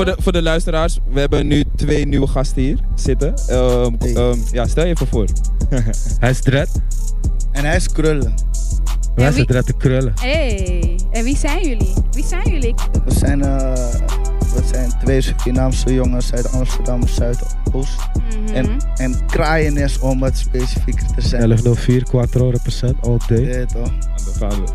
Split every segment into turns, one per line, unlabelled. Voor de, voor de luisteraars, we hebben nu twee nieuwe gasten hier zitten. Ehm,
Hey.
ehm, ja, stel je even voor.
Hij is dread.
En hij is krullen.
Wij
wie-
zijn dread te krullen.
Hey, en wie zijn jullie? Wie zijn jullie?
We zijn, eh, we zijn twee Surinaamse jongens uit Amsterdam Zuidoost.
Mhm.
En, en kraaien is om wat specifieker te zijn.
1104, Quattro represent, all day.
Ja, toch?
Aan de gaan we.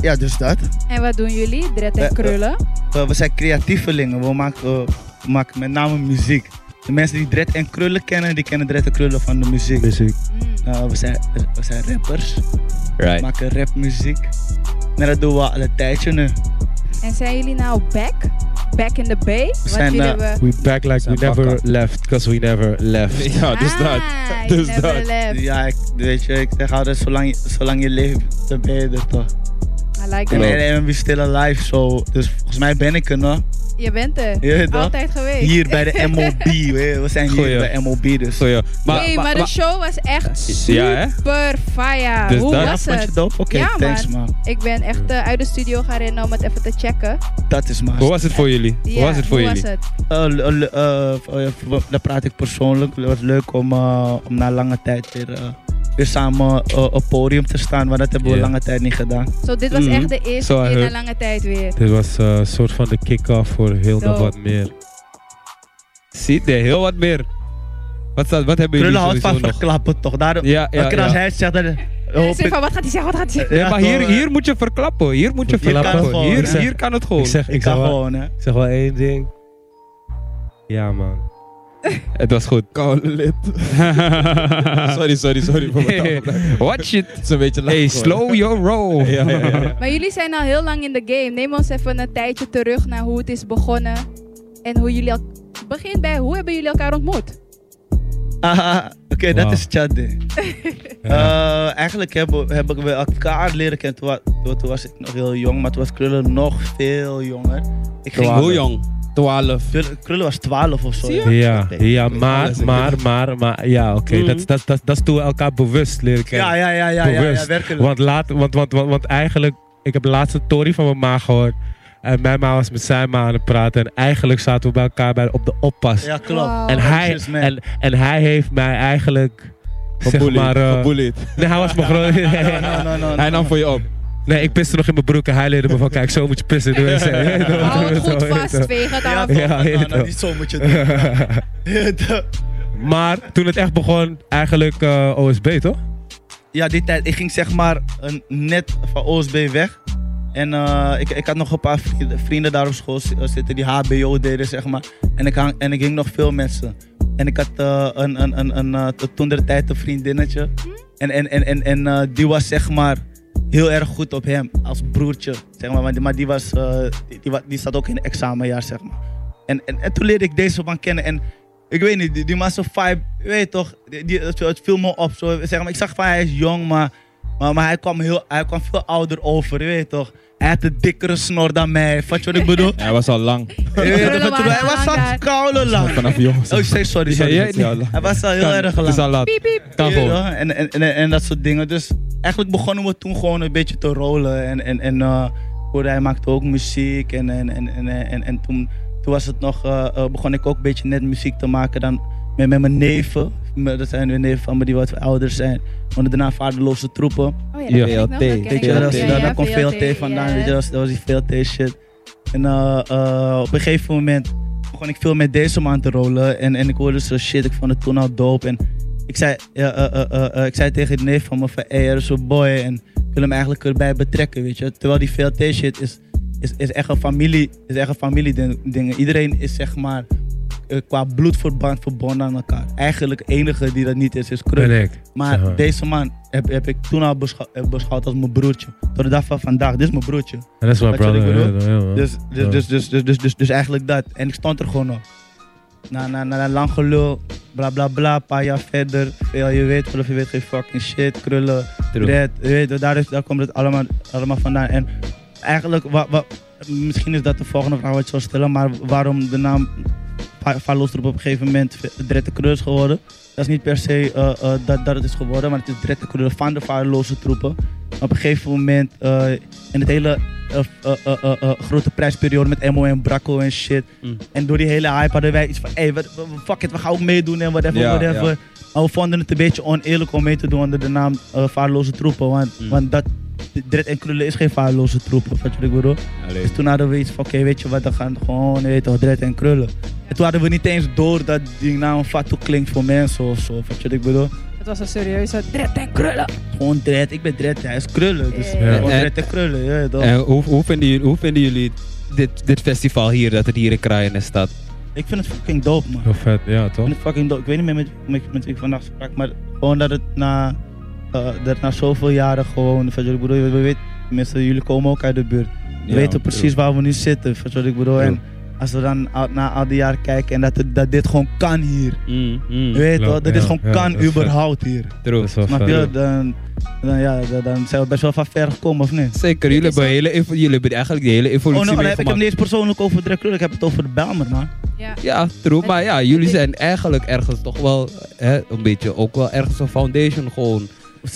Ja, dus dat.
En wat doen jullie? Dread
Eh,
en
eh.
krullen?
We, we zijn creatievelingen. We maken, eh, we maken met name muziek. De mensen die dread en krullen kennen, die kennen dread en krullen van de muziek.
Muziek.
Mm.
Eh, we, zijn, we zijn rappers. We
Right.
maken rapmuziek. En dat doen we al een tijdje nu.
En zijn jullie nou back? Back in the bay? Wat
zijn,
jullie
eh,
hebben...
We back like we
Zijn
never
bakken.
left, because we never left.
Ja, dus dat.
Ah,
Dus
you never
dat.
left.
Ja, ik, weet je, ik zeg altijd, zolang je, zolang je leeft, dan ben je er toch.
I like
En
it.
Klopt.
en- en we still alive, zo. Dus volgens mij ben ik er nog.
Je bent er.
Je weet toch?
Altijd geweest. Eh,
Hier bij de MOB. we we zijn hier
Goeie.
bij MOB, dus.
Zo, ja. Maar,
hey, maar,
maar- maar-
de show was echt
Ja, hè?
super fire.
Dus
Hoe
dat-
Ja,
was
vond je
het?
dope? Oké,
Ja,
thanks man.
Ik ben echt eh, uit de studio gaan rennen om het even te checken.
Dat is maar.
hoe was het voor jullie?
Ja,
hoe was het voor jullie?
was het?
Eh, le- le- eh, eh, v- daar praat ik persoonlijk. Het was leuk om, eh, om na lange tijd weer, eh, weer samen eh, op podium te staan. Maar dat hebben
Ja.
we lange tijd niet gedaan.
Zo, dit was
Mhm.
echt de eerste
Zo, I
keer na
heard.
lange tijd weer.
Dit was eh, een soort van de kick-off voor heel nog
Zo.
wat meer.
Ziet er heel wat meer. Wat, staat, wat hebben jullie
Krullen houdt
sowieso
van
nog?
verklappen toch? Daarom,
Ja, ja,
elke keer als
ja.
hij het zegt, dan
Oh,
Ik
hoop
zeg
ik...
Eh, van, wat gaat hij zeggen? Wat gaat hij zeggen?
Ja,
Ja,
maar
toch,
hier,
eh,
hier moet je verklappen. Hier moet je
Je kan
verklappen.
gewoon,
hier,
hè?
hier kan het gewoon.
Ik zeg,
Ik
ik
kan
zeg, wel,
gewoon, hè.
ik zeg wel één ding. Ja man.
Het was goed.
lid. Sorry, sorry, sorry voor mijn taal.
Watch it.
Het is een beetje laat.
Hey,
geworden.
slow your roll.
Ja, ja, ja.
Maar jullie zijn al heel lang in de game. Neem ons even een tijdje terug naar hoe het is begonnen. En hoe jullie... El- Begin bij, hoe hebben jullie elkaar ontmoet?
Haha, Oké, dat
Wauw.
is Chadde. Eh, eigenlijk hebben, hebben we elkaar leren kennen. Toen, wa- toen- toen was ik nog heel jong, maar toen was Krullen nog veel jonger. Ik
Twaalf. Hoe jong? 12.
Krullen, Krullen was 12 of zo.
Ja, ja, maar,
alles, ik
maar, maar, maar, ja, oké.
Mhm.
Dat, is- dat, dat, dat is toen we elkaar bewust leren kennen.
Ja, ja, ja, ja, ja, ja,
bewust.
werkelijk.
Want, laat, want, want, want, want eigenlijk, ik heb de laatste story van mijn ma gehoord. En mijn ma was met zijn ma aan het praten. En eigenlijk zaten we bij elkaar bij, op de oppas.
Ja, klopt.
Wow.
en, hij,
precies, man.
en, en hij heeft mij eigenlijk. Zeg
Gebullied,
maar, eh,
gebullied.
nee, hij was mijn
No,
groot.
no, no, no.
Hij nam voor je op.
Nee, ik piste nog in mijn broek en hij leerde me van: kijk, zo moet je pissen. Doe eens, hè.
Hou het goed vast, veeg het
Ja,
af.
toch,
Ja,
nou, nou,
heet
nou,
ook.
niet zo moet je het doen.
Maar toen het echt begon, eigenlijk eh, OSB toch?
Ja, die tijd. Ik ging zeg maar een, net van OSB weg. En eh, ik, ik had nog een paar vrienden, vrienden daar op school zi- eh, zitten die HBO deden, zeg maar. En ik, hang, en ik hing nog veel mensen. En ik had eh, een, een, een, een eh, tot toen de tijd een vriendinnetje. En, en, en, en, en eh, die was zeg maar heel erg goed op hem als broertje, zeg maar. Maar die, maar die was, eh, die, die, wa- die zat ook in het examenjaar, zeg maar. En, en, en toen leerde ik deze man kennen. En ik weet niet, die, die man zo'n vibe, je weet toch, die, die- het, het viel me op. Zo, zeg maar, ik zag van hij is jong, maar, maar, maar hij, kwam heel, hij kwam veel ouder over, je weet toch. Hij had een dikkere snor dan mij, vat je wat ik bedoel?
Hij was al lang.
Je weet toch,
krullen
want toen-
waren
hij was
lang daar.
al koude lang.
Vanaf jongens.
Oh, ik zei sorry,
Ja,
sorry.
jij niet.
hij was al heel
Kan-
erg
Het is al
lang.
laat.
Piep, piep.
Kan
Ja,
gewoon.
en, en, en, en dat soort dingen. Dus eigenlijk begonnen we toen gewoon een beetje te rollen. En, en, en eh, hoorde hij maakte ook muziek. En, en, en, en, en, en, en toen, toen was het nog, eh, eh, begon ik ook een beetje net muziek te maken dan met, met mijn neven. Me- Dat zijn weer neven van me die wat ouder zijn. Want daarna vaderloze troepen.
Oh ja, dat ken ik nog, dat ken ik
Weet je,
Ja,
nog.
dat,
is-
Ja,
daar,
ja,
daar komt veel
VLT,
T vandaan. Weet je,
yes.
dat was, dat was die veel T shit. En eh, eh, op een gegeven moment begon ik veel met deze man te rollen. En, en ik hoorde zo shit, ik vond het toen al dope. En ik zei, ja, eh, eh, eh, eh, ik zei tegen de neef van me van, hey, er is een boy. En ik wil hem eigenlijk erbij betrekken, weet je. Terwijl die veel T shit is, is, is echt een familie, is echt een familieding. Iedereen is zeg maar eh, qua bloedverband verbonden aan elkaar. Eigenlijk de enige die dat niet is, is Krul.
Ben ik.
Maar
Zeg maar.
deze man heb, heb ik toen al beschou- eh, beschouwd als mijn broertje. Tot de dag van vandaag, dit is mijn broertje.
En dat is mijn
Weet je wat ik
brother.
bedoel?
ja, ja, man.
Dus, dus,
Ja.
dus, dus, dus, dus, dus, dus eigenlijk dat. En ik stond er gewoon op. Na, na, na, na lang gelul, bla bla bla, een paar jaar verder. Ja, je weet wel of je weet geen fucking shit, krullen,
True.
red. Je weet, wel, daar, is, daar komt het allemaal, allemaal vandaan. En eigenlijk, wa, wa- misschien is dat de volgende vraag wat ik zou stellen, maar waarom de naam Va- Van Loostrop op een gegeven moment Dred de Krul is geworden. Dat is niet per se eh, eh, dat, dat het is geworden, maar het is Dred de Krul van de vaarloze troepen. Op een gegeven moment, eh, in het hele eh, eh, eh, eh, eh, grote prijsperiode met Emo en Bracco en shit.
Mm.
En door die hele hype hadden wij iets van, hey, wat- wat- fuck it, we gaan ook meedoen en whatever,
Ja,
whatever.
ja.
Maar we vonden het een beetje oneerlijk om mee te doen onder de naam eh, Vaarloze Troepen. Want,
Mm.
want dat, Dread en Krullen is geen Vaarloze Troepen, wat je ik bedoel.
Allee.
Dus toen hadden we iets van, oké, weet je wat, dan gaan we gewoon, je weet toch, dread en krullen. En toen hadden we niet eens door dat die naam Fatou klinkt voor mensen of zo, weet je wat ik bedoel?
Het was een serieuze dread en krullen.
Gewoon dread, ik ben dread, hij is krullen, dus
Ja.
gewoon
En-
dread en krullen, ja toch?
En hoe, hoe, vinden jullie, hoe vinden jullie dit, dit festival hier, dat het hier in Kraaien is staat?
Ik vind het fucking dope, man.
Heel vet, ja toch?
Ik vind het fucking dope. Ik weet niet meer met, met, met wie ik vandaag sprak, maar gewoon dat het na, eh, dat na zoveel jaren gewoon, weet je wat ik bedoel, we weten, mensen, jullie komen ook uit de buurt. We
Ja,
weten precies waar we nu zitten, weet je wat ik bedoel? En als we dan al- na al die jaren kijken en dat, het- dat dit gewoon kan hier.
Mm, mm.
Je weet
Klopt,
toch, dat
ja,
is gewoon
ja,
kan
dat is vet.
überhaupt hier.
True.
Dat is wel
Snap
vet.
je? Dan, dan, ja, dan, dan zijn we best wel van ver gekomen, of niet?
Zeker, jullie hebben, hele, evo- jullie hebben eigenlijk de hele
Oh, no,
evolutie
nee, ik heb
meegemaakt.
het niet eens persoonlijk over de recruiter, ik heb het over de Belmer, man.
Ja.
Ja, true. Maar ja, jullie zijn eigenlijk ergens toch wel hè, een beetje ook wel ergens een foundation gewoon.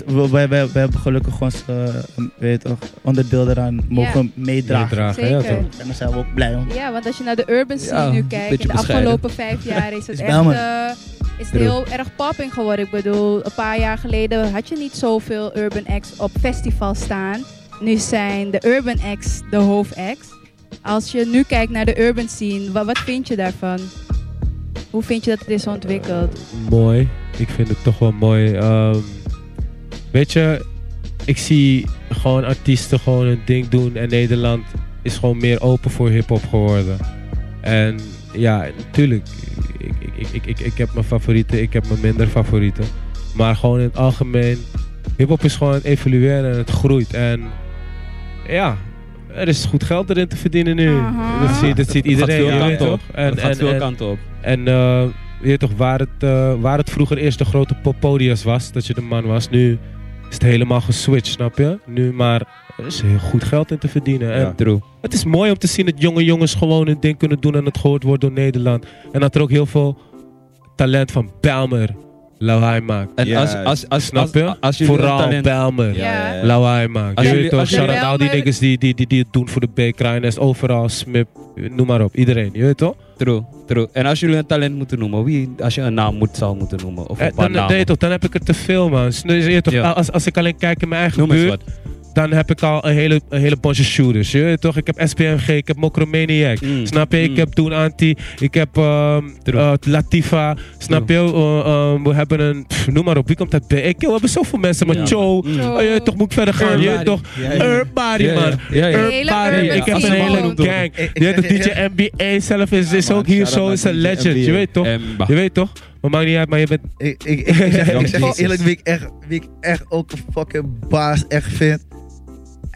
We, we, we, we hebben gelukkig gewoon eh, een- weet je toch, onderdeel eraan mogen meedragen.
Meedragen, ja
Zeker.
toch?
En daar zijn we ook blij om.
Ja, want als je naar de urban scene
Ja,
nu
een
kijkt,
beetje
in de
bescheiden.
afgelopen vijf jaar is het
Is
echt
Belmer.
eh, is het
True.
heel erg popping geworden. Ik bedoel, een paar jaar geleden had je niet zoveel urban acts op festivals staan. Nu zijn de urban acts de hoofdacts. Als je nu kijkt naar de urban scene, wa- wat vind je daarvan? Hoe vind je dat het is ontwikkeld?
mooi. Ik vind het toch wel mooi. Ehm, weet je, ik zie gewoon artiesten gewoon hun ding doen en Nederland is gewoon meer open voor hip-hop geworden. En ja, natuurlijk, ik, ik, ik, ik, ik, ik heb mijn favorieten, ik heb mijn minder favorieten. Maar gewoon in het algemeen, hip-hop is gewoon aan het evolueren en het groeit. En ja, er is goed geld erin te verdienen nu.
Aha.
Dat ziet, dat ziet
Dat gaat
iedereen,
veel
je weet
kanten op.
toch? En,
dat gaat
en-
veel
en-
kanten op.
en eh, je weet toch, waar het, eh, waar het vroeger eerst de grote poppodia's was, dat je de man was, nu is het helemaal geswitcht, snap je? Nu maar er is heel goed geld in te verdienen. En
Ja.
True.
het is mooi om te zien dat jonge jongens gewoon hun ding kunnen doen en het gehoord wordt door Nederland. En dat er ook heel veel talent van Belmer lawaai maakt.
En
Ja,
als, als, als,
Snap
als,
je?
als, jullie
Vooral
een talent-
Belmer.
Ja.
Lawaai maakt.
Als
je
jullie-
weet toch,
als
shout
jullie
out al die
Belmer-
niggas die, die, die, die het doen voor de B, Kruinest, overal, Smip, noem maar op. Iedereen, je weet toch?
True, true. En als jullie een talent moeten noemen, wie als je een naam moet, zou moeten noemen? Of een
Eh,
paar
dan,
namen?
nee, toch, dan heb ik er te Dus veel, man. S- nee, je toch,
Ja.
als, als ik alleen kijk in mijn eigen
Noem eens
buurt,
wat.
dan heb ik al een hele, een hele bunch shooters. Je weet toch? Ik heb SPMG, ik heb Mokromaniac.
Mm.
Snap je? Ik
Mm.
heb Doen Anti, ik heb ehm,
True.
eh, Latifa. Snap je? Eh, ehm, we hebben een, pff, noem maar op, wie komt dat bij? Ik, we hebben zoveel mensen, maar
Ja.
Joe.
Mm.
Oh, je weet toch moet ik verder gaan? Je weet toch?
Ja, ja.
Urbari,
Ja, ja,
man.
ja, ja.
Hele
Urbari.
urban
Ik heb een
scene
hele
gewoon.
gang.
Ik- ik
Je weet toch,
zeg je
DJ NBA zelf is, is
man,
ook hier
shout-out
zo,
naar
is een
DJ
legend.
NBA.
Je weet toch?
En bah.
Je weet toch? Maar maakt niet uit, maar je bent
Ik, ik, ik, ik zeg, ik zeg je
Jezus.
eerlijk, wie ik, echt, wie ik echt ook een fucking baas echt vind.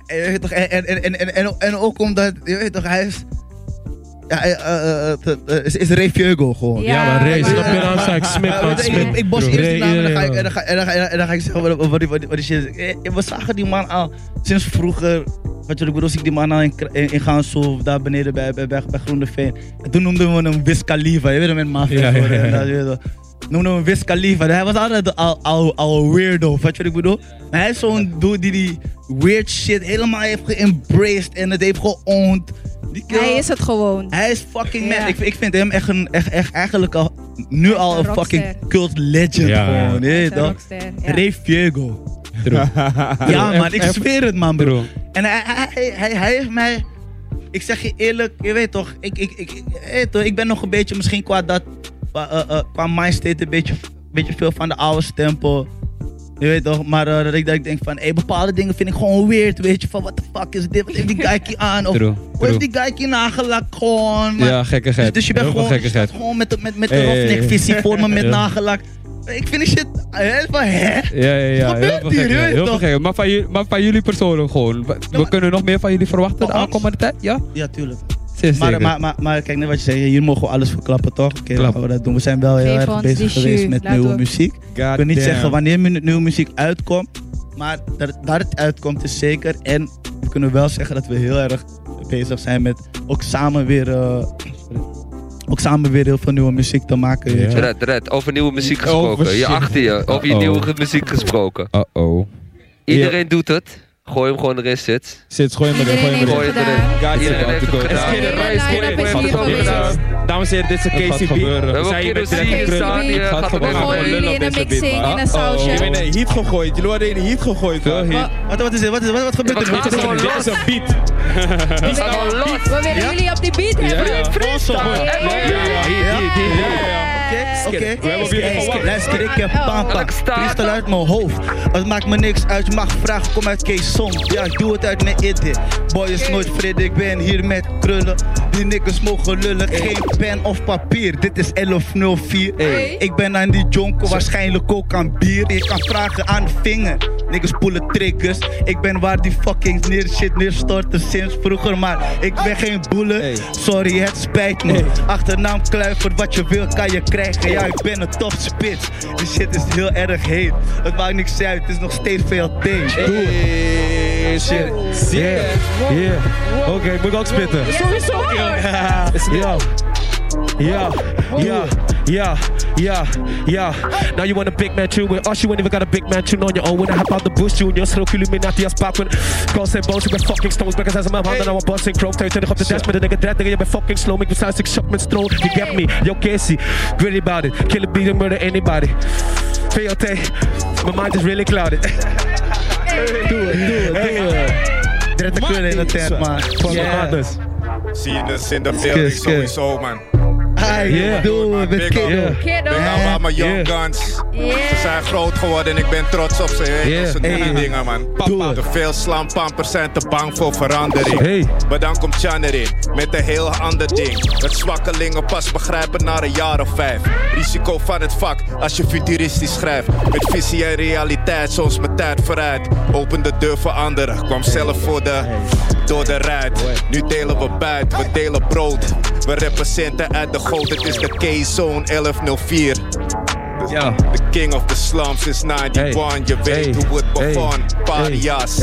En, je weet toch, en, en, en, en, en, en ook omdat, je weet toch, hij is... Ja, hij, eh, eh, het- eh, is, is Ray Fuego gewoon.
Ja,
Ja, maar Ray,
maar-
snap je dan? Zou ik smip,
Ja,
man,
weet je,
smip.
Ik, ik bos eerst de
Ray,
naam en dan ga
iedereen,
ik- en
man.
dan ga- en dan ga- en dan- en dan ga ik zeggen wat, wat, wat, wat, wat die shit is. Eh, We zagen die man al sinds vroeger. Weet je wat ik bedoel? Zie ik die man al in, Kra- in, in Gansel of daar beneden bij, bij, bij, bij Groeneveen. En toen noemden we hem Wiz Khalifa. Je weet hem met mafia.
Ja, ja,
hoor, en
ja.
dat, je weet wel. Noemden we hem Wiz Khalifa. Hij was altijd al, al, al een weirdo. Weet je wat ik bedoel? Maar hij is zo'n dude die die weird shit helemaal heeft geembraced en het heeft geowned. Die kerel-
Hij is het gewoon.
hij is fucking mad.
Ja.
Ik, ik vind hem echt, een, echt, echt eigenlijk al, nu al een
Een rockster.
fucking cult legend
Ja.
gewoon.
Hij
Nee,
is een
toch?
rockster, ja.
Ray Fiego.
True.
Ja man, ik
F- F-
zweer het man bro.
True.
En hij, hij, hij, hij- hij heeft mij... Ik zeg je eerlijk, je weet toch, ik, ik, ik, ik, eh, toch, ik ben nog een beetje misschien qua dat... Qua, eh, eh, qua mindset een beetje, beetje veel van de oude stempel. Je weet toch, maar eh, dat, ik, dat ik denk van, hey, bepaalde dingen vind ik gewoon weird, weet je. Van, what the fuck is dit, wat heeft die geikie aan? Of,
True,
hoe heeft
true.
die geikie nagelakt gewoon? Maar-
Ja,
dus,
gekkigheid.
dus je bent
Heel veel
gewoon, je staat
gekkigheid.
gewoon met, met, met
Ja,
een
ja, ja, ja.
rofnikvisie voor me met nagelakt. Ik vind die shit... Hè, van, hè?
Ja, ja, ja.
Wat gebeurt hier?
Heel veel
Je weet
gekkigheid, Heel veel
toch?
gekkigheid. Maar van jullie- Maar van jullie persoonlijk gewoon. We-
maar-
We kunnen nog meer van jullie verwachten de
Van ons?
aankomende tijd, ja?
Ja, tuurlijk.
Zeer
Maar,
zeker.
maar, maar, maar kijk net wat je zei, jullie mogen we alles verklappen toch? Oké,
Klap.
laten we dat doen. We zijn wel heel
Geef
erg
ons
bezig
die
geweest
jus.
met
Laten
nieuwe
we-
muziek. Ik wil niet zeggen wanneer mu- nieuwe muziek uitkomt, maar dat, het- dat het uitkomt is zeker. En we kunnen wel zeggen dat we heel erg bezig zijn met ook samen weer, eh, ook samen weer heel veel nieuwe muziek te maken. Weet je.
Red, red, over nieuwe muziek
Over
gesproken.
shit.
je achter je, over je
Uh-oh.
nieuwe muziek gesproken.
Uh-oh.
Iedereen doet het. Gooi hem gewoon erin, zit.
Zit, gooi hem erin, gooi
Iedereen
hem
heeft
erin.
Gooi
het
hem
Guys,
gedaan.
erin. Iedereen heeft het
Let's
gedaan.
get it right, let's get it
Iedereen heeft het
right.
gedaan.
Dames en heren, dit is
Het gaat
KCB. We
gebeuren.
hebben
zijn hier
ook
met Dirk
Kino
Krul.
C staan, die, eh,
Gaat
gaat
gewoon
We
We
gaan
gooien
lullen
jullie in
op
een
deze
mixing,
beat,
in
man.
een
Oh.
Jullie
sausje.
werden in heat gegooid. Jullie worden in heat gegooid. man.
heat.
Wat, wat is dit? Wat, is- wat, wat gebeurt
Wat
er?
gaat
Dit is
Gewoon
een- dit is een beat.
We willen-
Gewoon los.
We willen jullie op die beat hebben.
ja.
Ja?
Yes.
Oké,
We hebben op jullie
Hey,
gewacht.
Luister, ik heb
Oh.
pampa.
Ik sta-
Kristal uit mijn hoofd. Het maakt me niks uit, je mag vragen. Kom uit Keeson. Ja, ik doe het uit mijn idee. Boy is nooit vrede, ik ben hier met krullen. Die nikkers mogen lullen. Geen pen of papier, dit is 1104.
Hey.
Ik ben aan die jonko, waarschijnlijk ook aan bier. Je kan vragen aan vinger. Nikkers poelen triggers. Ik ben waar die fucking neer shit neerstorten sinds vroeger. Maar ik ben geen boele.
Hey.
Sorry, het spijt me. Achternaam Kluivert, wat je wil kan je krijgen. Ja, ik ben een topspits. Die shit is heel erg heet. Het maakt niks uit, het is nog steeds VLT. Doe het.
Hey, shit.
Yeah,
Yeah. Oké, moet ik ook spitten?
Sowieso.
Ja. Ja, ja, ja, yeah, yeah. Now you want a big man tune with us, you ain't even got a big man tune on your own. When I hop out the bush, junior, strook Illuminati als pakken. Kans en boos, ik ben fucking stones. Bekken zijn ze mijn handen, nou een boss en croak. Tuin terug op de desk met een nigga dread, nigga, je bent fucking slow. Ik besluit, ik shock met stroom. You get me, yo Casey, gritty about it. Kill a beat and murder anybody. VLT, my mind is really clouded. Doe het, doe het, doe het.
Er is een krullen in de tent, man.
Van mijn anders.
Sinus in the building,
Skit, skit.
sowieso man.
Ai,
Yeah.
doe het met
Big up.
Yeah.
kiddo.
Kiddo.
Big up aan mijn young
Eh, Yeah.
guns.
Yeah.
Ze zijn groot geworden en ik ben trots op ze. Hey,
Yeah.
Ze doen die
Hey.
dingen man.
Doe het.
Te veel slampampers zijn te bang voor verandering.
Hey.
Maar dan komt Chan erin met een heel ander ding. Het zwakkelingen pas begrijpen na een jaar of vijf. Risico van het vak als je futuristisch schrijft. Met visie en realiteit, soms mijn tijd vooruit. Open de deur voor anderen, kwam zelf voor de. Door de ruit, nu delen we buit, we delen brood. We representen uit de goot, het is de K-Zone 1104.
Ja.
The king of the slums since 91, je weet hoe het begon. Parias,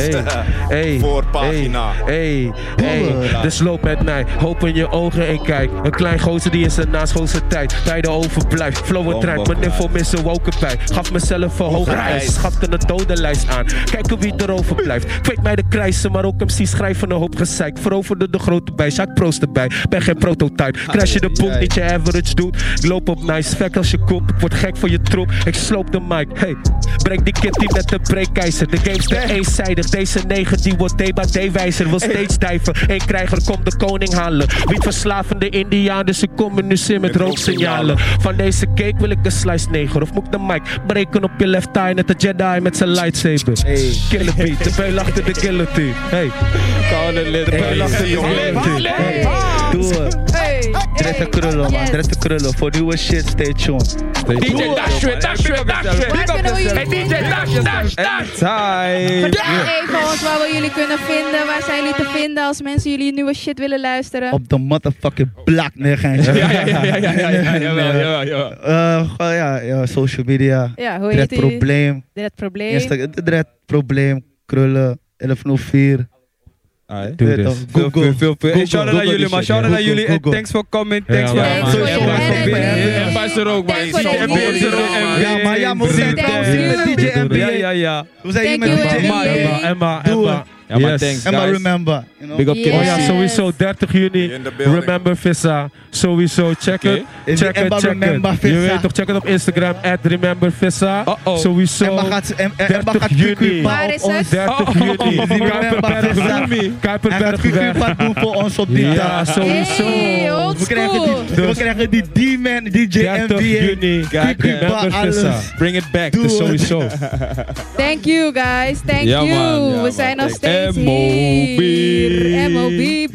voorpagina.
Hey, hey, dus loop met mij. Hoop in je ogen en kijk. Een klein gozer die in zijn naschoolse tijd. Bij de overblijft. Flow en trein. Mijn info missen woken bij. Gaf mezelf een hoge eis. Schafte een dodenlijst aan. Kijken wie er overblijft. Kweek mij de krijsen, maar ook hem zie schrijven een hoop gezeik. Veroverde de grote bij. Jacques Proost erbij. Ben geen prototype. Crash je de boek, niet je average doet. Ik loop op mij, svek als je kop. Ik word gek van je troep. Ik sloop de mic. Hey, breng die kitty met de breekijzer. De game's te eenzijdig. Deze negen die wordt D bij D wijzer. Wil steeds dijven. Eén krijger komt de koning halen. Niet verslavende dus Indianen. Ze komen nu zin met rooksignalen. Van deze cake wil ik een slice neger. Of moet ik de mic breken op je left eye. Net de Jedi met zijn lightsaber. Killer beat. De beul achter de guillotine. Hey. De beul achter de guillotine.
Doe het. Er is een krullen, man. Er is een krullen. Voor nieuwe shit, stay tuned.
DJ Dash, Dash,
Waar kunnen we jullie vinden?
Time.
Vertel even ons waar we jullie kunnen vinden. Waar zijn jullie te vinden als mensen jullie nieuwe shit willen luisteren?
Op de motherfucking black, nee, geen
Ja, ja, ja, ja, ja, ja, jawel, jawel, jawel.
Eh, gewoon, ja, ja, social media.
Ja, hoe
Dread
heet die?
probleem.
Dread Probleem.
Insta- Dread probleem. Krullen. 1104.
Doe
Weet
dit.
toch,
dus. Veel, veel,
Google.
veel, veel. Hey, shout out aan jullie, man. Shout out aan jullie. En
Google.
thanks voor coming.
Ja,
Thanks voor
man.
Thanks voor je
Airbuds
energy.
binnen.
Airbuds er ook, man.
Thanks voor je
Airbuds er ook,
energy.
man.
Ja, maar ja, maar we zijn
Thank
we zijn met DJ
you.
MBA.
Ja, ja, ja.
We zijn hier
Thank
met
you,
DJ
Emma,
Emma,
Emma, Emma,
MBA. Doe
Emma.
Ja, maar
Yes.
thanks,
Emma,
guys.
remember. You know?
Big up
Yes.
Kim.
Oh ja, sowieso 30 juni.
In the building.
Remember Vissa. Sowieso, check
Oké.
het.
Is
Check
Emma
het, check
Remember
het. Je
Vissa?
weet toch, check het op Instagram. At Remember Vissa.
Uh-oh.
Sowieso.
Emma gaat, Em- Em- Emma
30
gaat QQ
juni.
pa
Waar
op
is
ons.
het?
30 juni.
Oh. Remember Vissa.
Kuiperberg.
Hij gaat
Kuiperberg.
QQ-pad doen voor ons op die
Ja,
dag.
sowieso.
Hey, old
We krijgen
school.
die, we krijgen die D-man, DJ
30
MBA.
juni.
eh,
Remember
alles.
Vissa.
Bring it back.
Dus
Doe het.
sowieso.
Thank you é guys, thank
Ja,
you.
man. É Ja,
we
man.
zijn nog
Thank-
steeds
M.O.B..
hier. MOB.